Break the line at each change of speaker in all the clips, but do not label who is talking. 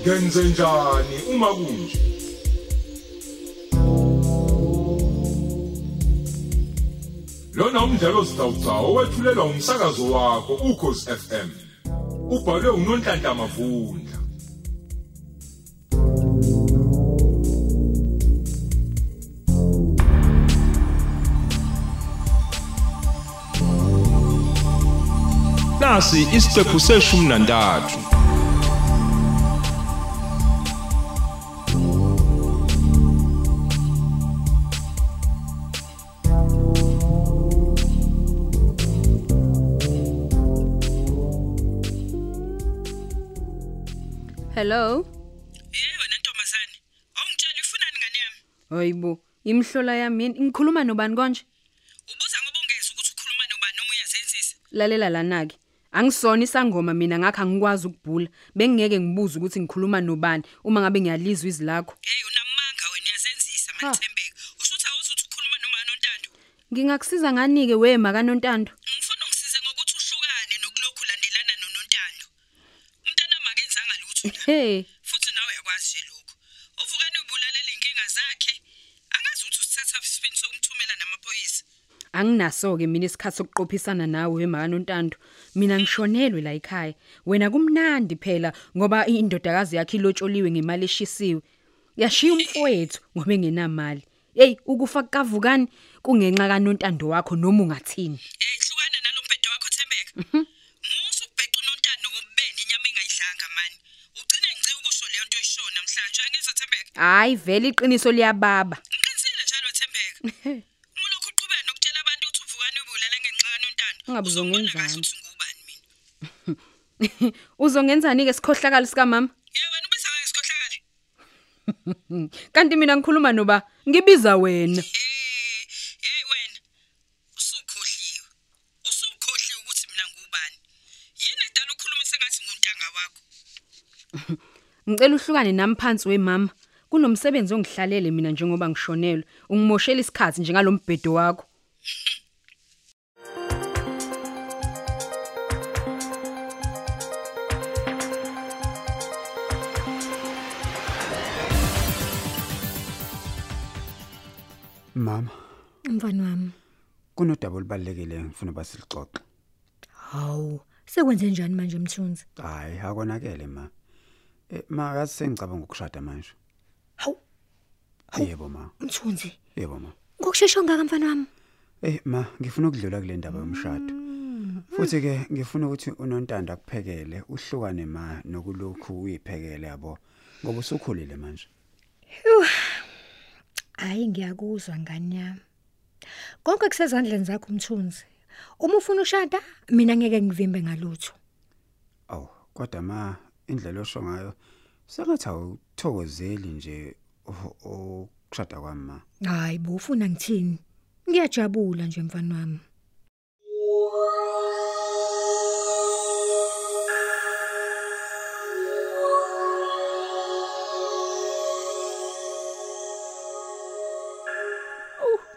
ngenzenjani uma kunje lona umdlalo ozitawuthawo owethulelwa umsakazo wakho ukhozi fm ubhalwe unonhlanhla mavundla nasi isiqephu seshumi nantathu
hello
Yebo nantombazane. Awungitshela ufunani ngane yami?
hayibo imhlola yami yini? ngikhuluma nobani konje
Ubuza ngoba ungeza ukuthi ukhuluma nobani noma uyazenzisa.
lalela lana-ke angisona isangoma mina ngakho angikwazi ukubhula bengingeke ngibuze ukuthi ngikhuluma nobani uma ngabe ngiyalizwa izwi lakho
Hey Eh, unamanga wena uyazenzisa manithembeke. Usuthi awuzi ukuthi ukhuluma noma nontando.
ngingakusiza ngani-ke wema kanontando
Ngifuna ungisize ngokuthi uhlukane nokulokhu landelana nonontando. Umntana makenzanga lutho la.
he
Futhi nawe uyakwazi nje lokho. Uvukani ubulalela inkinga zakhe. Angazi ukuthi usithatha isipini sokumthumela namaphoyisa.
anginaso-ke mina isikhathi sokuqophisana nawe wema kanontando mina ngishonelwe la ekhaya wena kumnandi phela ngoba indodakazi yakho ilotsholiwe ngemali eshisiwe yashiya umfowethu ngoba engenamali eyi ukufa kukavukani kungenxa kanontando wakho noma ungathini
Hey hlukana nalomphedo Eh, wakho Thembeka.
Mhm.
Musu ukubheca unontando ngobubende inyama engayidlanga mani. Ugcine ngici ukusho leyo nto oyisho namhlanje uyangizwa Thembeka.
hhayi vele iqiniso liyababa
Ngiqinisile njalo Thembeka. Uma lokhu uqhubeka nokutshela abantu ukuthi uvukani ubulala ngenxa kanontando.
Ungabe
uzongibona kahle
uzongenzani?
ukuthi ngubani mina.
uzongenzani-ke sikhohlakalo sikamama Hmm.
Ye wena ubiza ngesikhohlakale.
kanti mina ngikhuluma noba ngibiza wena
Eh, hey wena. Usukhohliwe. Usukhohliwe ukuthi mina ngubani. Yini edala ukhulumise ngathi nguntanga wakho?
ngicela uhlukane nami phansi wemama kunomsebenzi ongihlalele mina njengoba ngishonelwe ungimoshela isikhathi njengalo mbhedo wakho
Mama,
Mfani wami,
kunodaba olubalekile ngifuna basilixoxe.
hawu, sekwenze njani manje Mthunzi?
Hayi, akonakele ma. Eh ma kasengicabanga ukushada manje.
Hawu,
Yebo ma.
Mthunzi,
Yebo ma.
ngokusheshsha ngaka mfani wami?
Eh ma, ngifuna ukudlula kule ndaba yomshado.
Mm-hmm.
Futhi ke ngifuna ukuthi unontanda kuphekele, uhlukane ma nokulokhu uyiphekele yabo. Ngoba usukhulile manje.
Hayi ngiyakuzwa ngani yami. Konke kusezandleni zakho Mthunzi. Uma ufuna ushada, mina ngeke ngivimbe ngalutho.
Aw, kodwa ma indlela osho ngayo sengathi awuthokozeli nje o- o- ukushada kwami ma.
Hayi bo ufuna ngithini? Ngiyajabula nje mfani wami.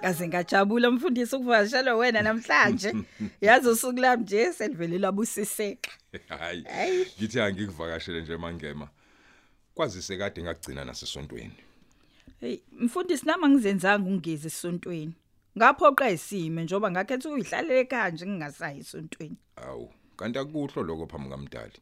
kaze ngajabula mfundisi ukuvakashela wena namhlanje yazi usuku lami nje selivelelwa busiseka
hayi ngithi angikuvakashele nje mangema kwazise kade ngagcina nasesontweni
heyi mfundisi nami angizenzanga ungezi esontweni ngaphoqa isime njengoba ngakhetha ukuyihlalele kanje ngingasayi esontweni
awu kanti akuhlo lokho phambi kamdali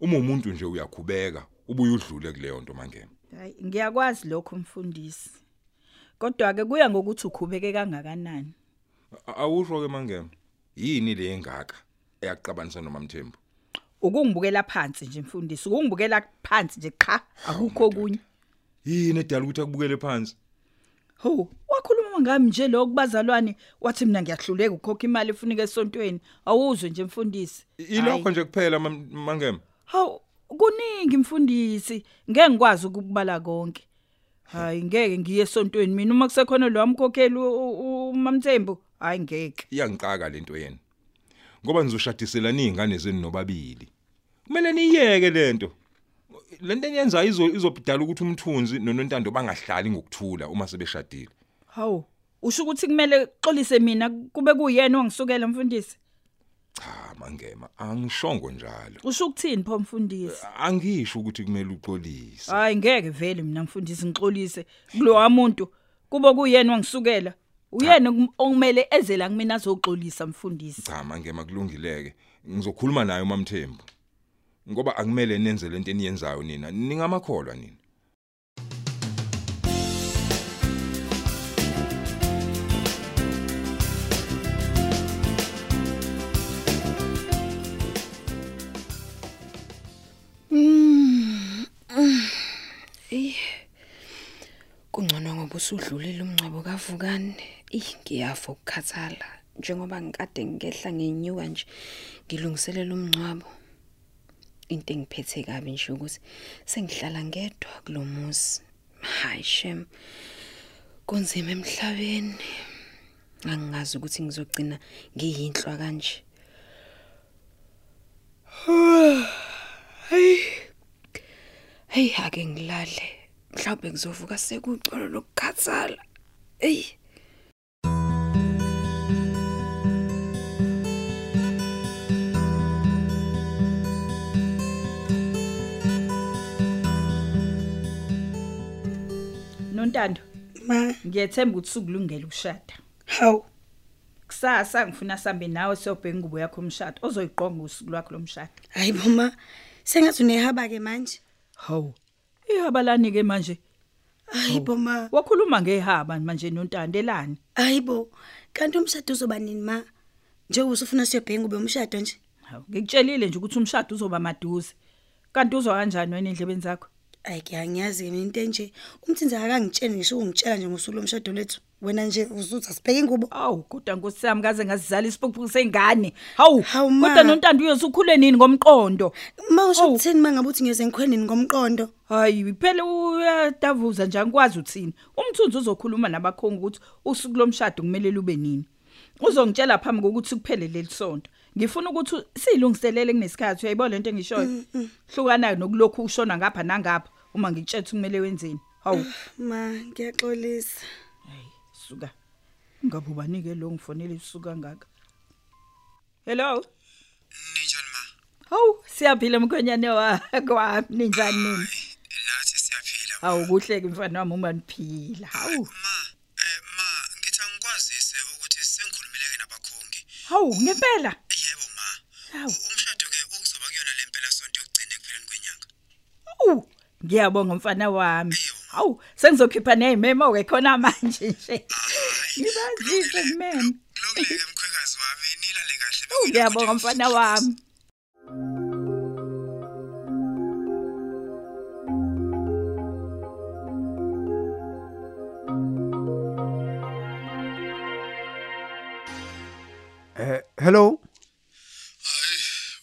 uma umuntu nje uyakhubeka ubuye udlule kuleyo nto mangema
hayi ngiyakwazi lokho mfundisi kodwa-ke kuya ngokuthi ukhubeke kangakanani
awusho ke mangema yini le engaka eyakuqabanisa nomamthembu
ukungibukela phansi nje mfundisi ukungibukela phansi nje qha akukho okunye
yini edala ukuthi akubukele phansi
ho wakhuluma ngami nje lo kubazalwane wathi mina ngiyahluleka ukukhokha imali efuneka esontweni awuzwe nje mfundisi
ilokho
Hhayi.
nje kuphela mam- mangema
hawu kuningi mfundisi ngeke ngikwazi ukubala konke hayi ngeke ngiye esontweni mina uma kusekhona lo wamkhokheli u- u- umamthembu hayi ngeke
iyangixaka lento yena ngoba nizoshadisela ningane zenu nobabili kumele niyeke lento lento eniyenzayo izo- izobudala ukuthi umthunzi nonontando bangahlali ngokuthula uma sebeshadile
hawu usho ukuthi kumele xolise mina kube kuyena ongisukela mfundisi
Cha mangema angishongo njalo.
Usho ukuthini pho mfundisi?
Angisho ukuthi kumele uxolise.
Hayi ngeke vele mina mfundisi ngixolise kulowa muntu. Kuba kuyena wangisukela. Uyena kum- okumele ezela kumina azoxolisa mfundisi.
cha mangema kulungileke ngizokhuluma naye uMamthembu ngoba akumele nenze lento eniyenzayo nina ningamakholwa nina
Kungcono ngoba usudlulile umncebo kavukane. Ih ngiyafa ukukhathala njengoba ngikade ngikehla ngenyuka nje ngilungiselela umncwabo. Into engiphethe kabi nje ukuthi sengihlala ngedwa kulomuzi. Hayi shem. Kunzima emhlabeni. Angingazi ukuthi ngizogcina ngiyinhlwa kanje. Hey ake ngilale. Mhlawumbe ngizovuka sekucolo lokukhatsala. Ey
Nontando,
Ma,
ngiyethemba ukuthi sukulungela ukushada.
hawu,
Kusasa ngifuna sambe nawe siyobheka ingubo yakho umshado ozoyiqonga usuku lwakho lomshado.
hayibo ma. Sengathi unehaba ke manje.
Hawu. Ihabalani ke manje?
Hayibo ma.
Wakhuluma ngehaba manje nontando elani?
Hayibo. Kanti umshado uzoba nini ma? Njengoba usufuna siyobhenga ube umshado nje.
Hawu, ngikutshelile nje ukuthi umshado uzoba maduze. Kanti uzwa kanjani wena endlebeni zakho?
Ayi ngiyangiyazi mina into enje. Umthinzi akangitsheni ngisho ungitshela nje ngosuku lomshado lethu. Wena nje uzuthi asibheke ingubo.
Awu kodwa nkosi yami kaze ngazizala isiphukuphuku sengane. Hawu
Hawu, ma.
kodwa nontando uyosukhule nini ngomqondo?
Ma usho
Hawu.
ukuthini mangabe uthi ngeze ngikhwenini ngomqondo?
Hayi phela uyadavuza nje angikwazi uthini. Umthunzi uzokhuluma nabakhongi ukuthi usuku lomshado kumele lube nini. Uzongitshela phambi kokuthi kuphele leli sonto. Ngifuna ukuthi silungiselele kunesikhathi uyayibona lento
Mm,
engishoyo. Hlukana nokulokhu ushona ngapha nangapha uma ngikutshela ukuthi kumele wenzeni. Hawu
Ma, ngiyaxolisa.
suka. Ngabubani ke lo ngifonele usuka ngaka. Hello.
Ninjani ma?
Hawu siyaphila mkhonyane wakho ninjani nini?
Nathi siyaphila.
Hawu kuhle ke mfana wami uma niphila. Hawu.
Ma, eh ma, ngithi angikwazise ukuthi sengikhulumileke nabakhongi.
Hawu ngempela.
Yebo ma.
Hawu.
Umshado ke ukuzoba kuyona lempela sonto yokugcina ekupheleni kwenyanga.
Awu, ngiyabonga mfana wami. Hawu, sengizokhipha nezimemo ke khona manje nje. Ngibazise mem.
Kulungile mkhwekazi wami, nilale kahle.
Ngiyabonga mfana wami.
Eh hello.
Hayi,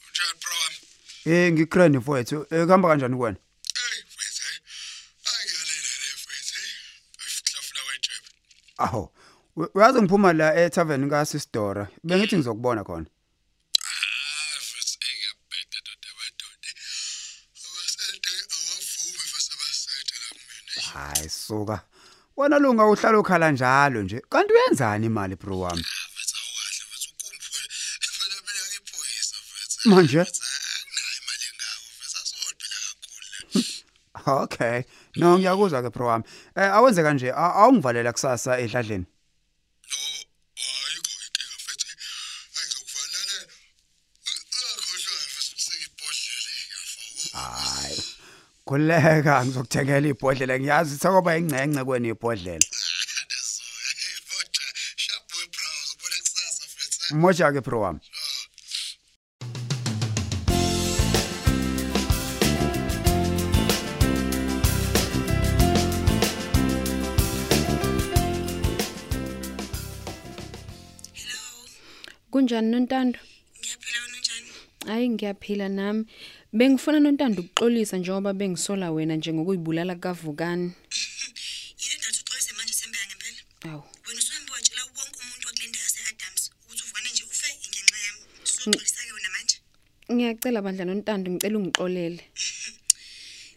uJohn bro wami.
Eh ngikrani mfowethu. Eh kuhamba kanjani kuwena?
Hey mfethu. Hayi ngiyalela le mfethu. Uhlafuna wetshebe.
Aho. u- Uyazi ngiphuma la e tavern ka Sisidora. Bengithi ngizokubona khona.
Mm. Ah, mfethu, engiyabheda doda abadoda. Abasente awavumi mfethu abasente la kumina.
Hayi suka. Wena lunga uhlala ukhala njalo nje. Kanti uyenzani imali bro wami?
Mfethu awukahle mfethu ukumphule. Phela mina ngiphoyisa mfethu.
Manje?
Mfethu, anginayo imali engako mfethu asodwela kakhulu la.
Okay. No ngiyakuzwa ke bro wami. Eh awenze kanje a- awungivalela kusasa edladleni.
No, ayikho inkinga mfethu. Angizokuvalela. Akhohlwa mfethu sengibhodlela yafawo.
Hayi. Koleka ngizokuthengela ibhodlela ngiyazi sakuba ingcengce kweni ibhodlela.
Andazoya. Hey, boda, shabu browse ubona kusasa eh? mfethu.
Moja ke bro wami.
kunjani nontando?
Ngiyaphila wena unjani?
Hayi ngiyaphila nami. Bengifuna nontando ukuxolisa njengoba bengisola wena njengokuyibulala kavukani.
Yini ndathu uxolise manje sembeka ngempela?
Awu.
Wena usuhambe watshela wonke umuntu wakulendlela se-Adams ukuthi uvukane nje ufe ngenxa yami. Usuxolisa ke wena manje?
Ngiyacela bandla nontando ngicela ungixolele.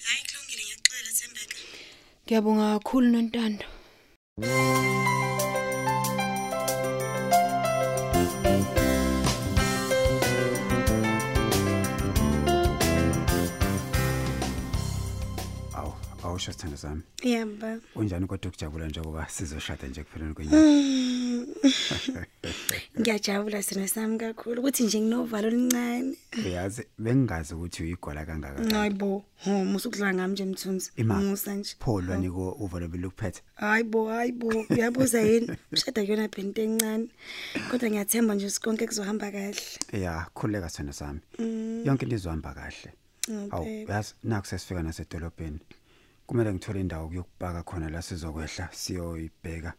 Hayi kulungile ngiyaxolela Thembeka.
Ngiyabonga kakhulu nontando.
ngisho sithando sami
Yaba.
unjani kodwa ukujabula njengoba sizoshada nje kupheleni kwenyanga
Ngiyajabula sina sami kakhulu ukuthi nje nginovalo lincane.
uyazi bengingazi ukuthi uyigwala kangaka
Hayibo, ho musukudla ngami nje mthunzi.
Imaphi?
Musa nje.
pholwa niko uvalo belukuphethe
Hayibo, hayibo. Uyabuza yini? Ushada kuyona bhenti encane. Kodwa ngiyathemba nje sikonke kuzohamba kahle.
ya khuleka sithando sami yonke into izohamba kahle
Oh,
awu
babe.
yazi naku sesifika nasedolobheni kumele ngithole indawo yokupaka khona la sizokwehla siyoyibheka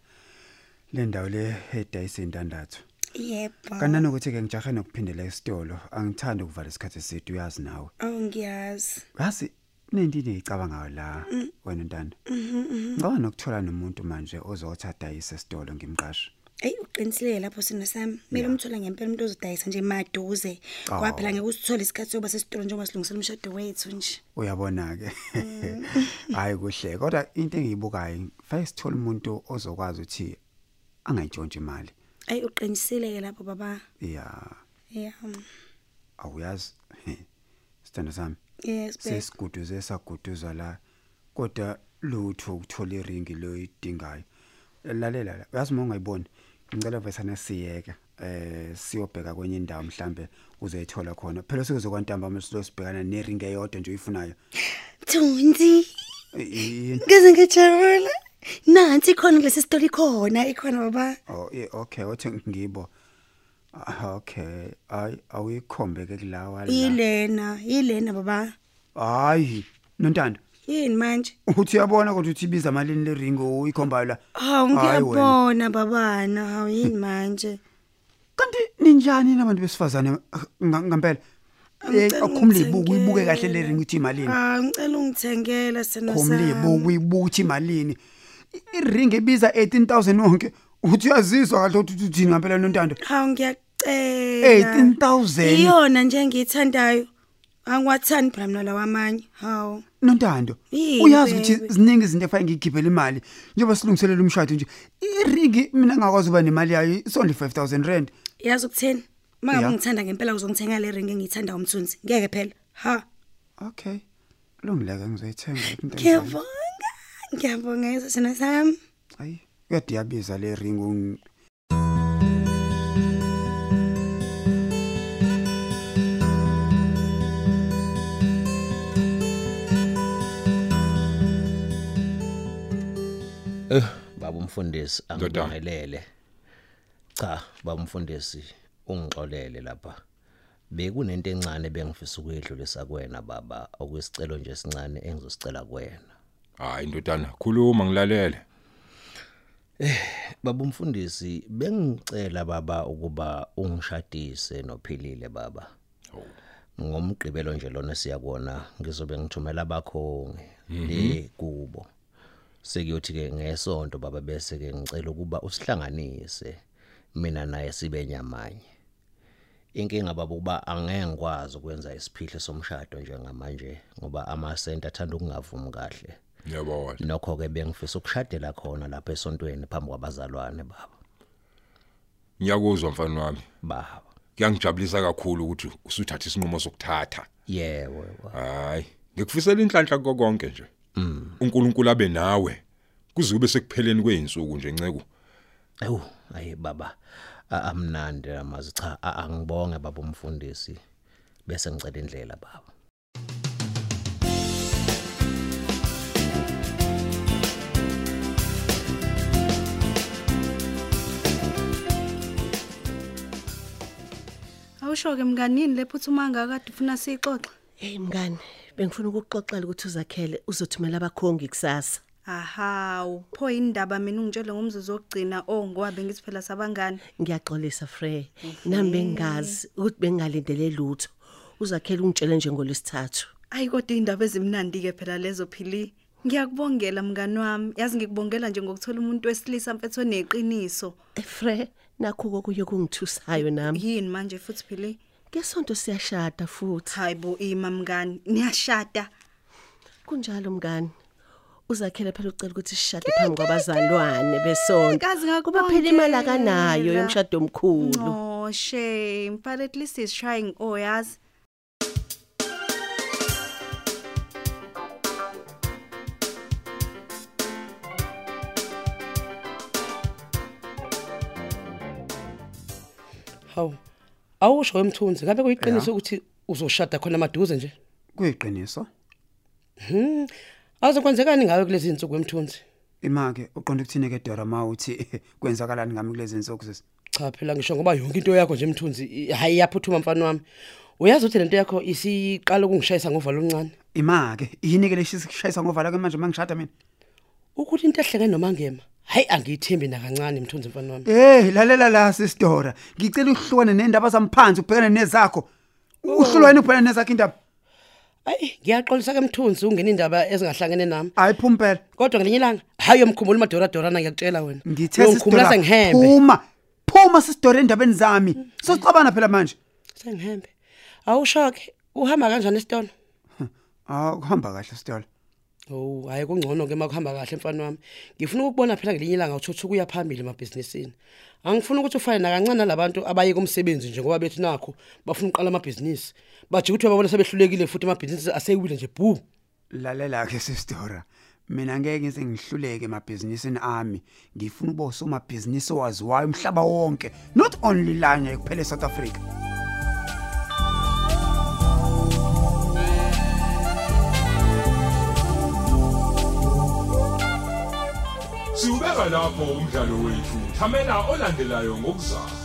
le ndawo le edayisa intandathu
Yebo.
kanani ukuthi ke ngijahe nokuphindela esitolo angithandi ukuvala isikhathi eside uyazi nawe
Oh ngiyazi.
yazi kunentini eyicabangayo la wena ntando ngicabanga nokuthola nomuntu manje ozothi adayise esitolo ngimqashe
Ey uqinisile lapho sina sami. Mele umthola ngempela umuntu ozodayisa nje maduze.
Oh.
Kwaphela phela ngeke usithole isikhathi soba sesitolo njengoba silungisela umshado wethu nje.
uyabona-ke hhayi kuhle kodwa into engiyibukayo fake sithole umuntu ozokwazi ukuthi angayintshontshi imali
Ey uqinisile ke lapho baba. mm,
ya
Yeah.
awuyazi sithando sami
Yes, babe.
sesiguduze saguduzwa la kodwa lutho ukuthola iringi loyidingayo lalela la uyazi uma ungayiboni ngicela vesane siyeke eh siyobheka kwenye indawo mhlambe uzoyithola khona phela sikuze kwantamba amasilo sibhekana neringi eyodwa nje uyifunayo
Thunzi.
I- i- i-
Ngeze ngejabula. Nansi khona kulesi story khona ikhona baba.
Oh, eh, okay wathi ngibo Ah, okay ay awuyikhombeke kulawa la
Yilena, yilena baba.
hayi nontando
Yini manje?
uthi uyabona kodwa uthi ibiza malini leringi uyikhombayo la Hhayi
Hawu
wena.
ngiyabona babana, hawu yini manje?
kanti ninjani nabantu besifazane nga- ngampela Eh,
Ngicela
akhumule ibuku
ungithengele.
uyibuke kahle le ring uthi imalini
Ah, ngicela ungithengela sena
khumule ibuku uyibuke uthi imalini I- iring ibiza 18000 wonke uthi uyazizwa kahle ukuthi uthini ngampela nontando
Hawu ngiyacela.
18,000.
Iyona nje ngiyithandayo. Angwathani phela mina lawa amanye. Hawu.
nontando
Yini,
uyazi ukuthi
baby?
ziningi izinto efanele ngigibele imali njengoba silungiselela umshado nje iringi mina ngakwazi uba nemali yayo isonde 5000 rand
Yazi ukutheni? Mangabe
Ya.
ungithanda ngempela uzongithenga le ring engiyithanda umthunzi. Ngeke phela. Ha.
okay lungileke ngizoyithenga into enjalo.
Ngiyabonga. Ngiyabonga sesena sami.
hayi kuyadiyabiza le ring ungi-
baba umfundisi angibongelele cha baba umfundisi ungixolele lapha bekunento encane bengifisa ukuyidlulisa kuwena baba okwesicelo nje sincane engizosicela kuwena
hayi ndodana khuluma ngilalele
baba umfundisi bengicela baba ukuba ungishadise nophilile baba ngomgqibelo nje lona siyakona ngizobe ngithumela abakhongi le kubo sekuyothi ke ngesonto baba bese ke ngicela ukuba usihlanganise mina naye sibe nyamanye inkinga baba ukuba angeke ngikwazi ukwenza isiphihlo somshado njengamanje ngoba amasenta athanda ukungavumi kahle
ngiyabona
nokho ke bengifisa ukushadela khona lapha esontweni phambi kwabazalwane baba
ngiyakuzwa mfana wami
baba
kuyangijabulisa kakhulu ukuthi usuthatha isinqumo sokuthatha
yebo baba.
hayi ngikufisela inhlanhla kuko konke nje uNkulunkulu abe nawe kuze kube sekupheleni kweinsuku nje nceko
Ewu, ayi baba. a- Amnandi amazi cha a- angibonge baba umfundisi bese ngicela indlela baba.
Awusho ke mnganini lephuthuma ngakade ufuna sixoxe.
Hey mngani, bengifuna ukukuxoxela ukuthi uzakhele uzothumela abakhongi kusasa.
Ahawu, pho indaba mina ungitshela ngomzuzu wokugcina ongoba bengithi phela sabangani.
Ngiyaxolisa Frey. Nami bengazi ukuthi bengalindele lutho. Uzakhele ungitshele nje ngolesithathu.
Ayi kodwa indaba ezimnandi ke phela lezo phili. Ngiyakubongela mngani wami. Yazi ngikubongela nje ngokuthola umuntu wesilisa mfethu oneqiniso.
Eh, Frey, nakho kokunye kungithusayo nami.
Yini manje futhi phili?
Kesonto siyashada futhi.
Hayibo ima mngani, niyashada.
Kunjalo mngani. Uzakhele phela ucela ukuthi sishade phambi kwabazalwane besonto.
Kazi ngakubongela.
Kuba phela imali akanayo yomshado omkhulu.
No shame, but at least he's trying oh yazi.
Hawu. Awusho wemthunzi ngabe kuyiqiniso ukuthi uzoshada khona maduze nje?
Kuyiqiniso.
Mhm. Awuzokwenzekani ngawe kulezi insuku wemthunzi?
Imake uqonda ukuthini ke Dora ma uthi kwenzakalani ngami kulezi insuku sisi?
Cha phela ngisho ngoba yonke into yakho nje mthunzi hayi yaphuthuma mfana wami. Uyazi ukuthi lento yakho isiqala ukungishayisa ngovalo oluncane.
Imake yini ke leshisa kushayisa ngovala ke manje mangishada mina?
Ukuthi into ehleke noma ngema. Hayi angiyithembi nakancane mthunzi mfana wami.
Hey lalela la sisi Dora ngicela uhlukane nendaba zamphansi ubhekane nezakho.
Oh.
Uhlukane ubhekane nezakho indaba.
Ayi ngiyaxolisa ke mthunzi ungena indaba ezingahlangene nami.
Hayi phumpela.
Kodwa ngelinye ilanga hayi umkhumbulo madora dorana ngiyakutshela wena.
Ngithe
Uyongikhumbula sengihembe.
Phuma. Phuma sisi Dora endabeni zami. Sosixabana phela manje.
Sengihembe. Awushoke uhamba kanjani esitolo?
Ah kuhamba kahle sitolo.
Oh, hayi kungcono ke makuhamba kahle mfana wami. Ngifuna ukubona phela ngelinye ilanga uthuthuka uya phambili emabhizinisini. Angifuni ukuthi ufane nakancane nalabantu abaye kumsebenzi nje ngoba bethu nakho bafuna uqala amabhizinisi. Bathi ukuthi babona sebehlulekile futhi amabhizinisi aseyibile nje bhu.
Lalela ke sisdora. Mina ngeke ngize ngihluleke emabhizinisini ami. Ngifuna ube usomabhizinisi owaziwayo umhlaba wonke, not only lana kuphela eSouth Africa.
Siubeka lapho umdlalo wethu. Thamela olandelayo ngokuzayo.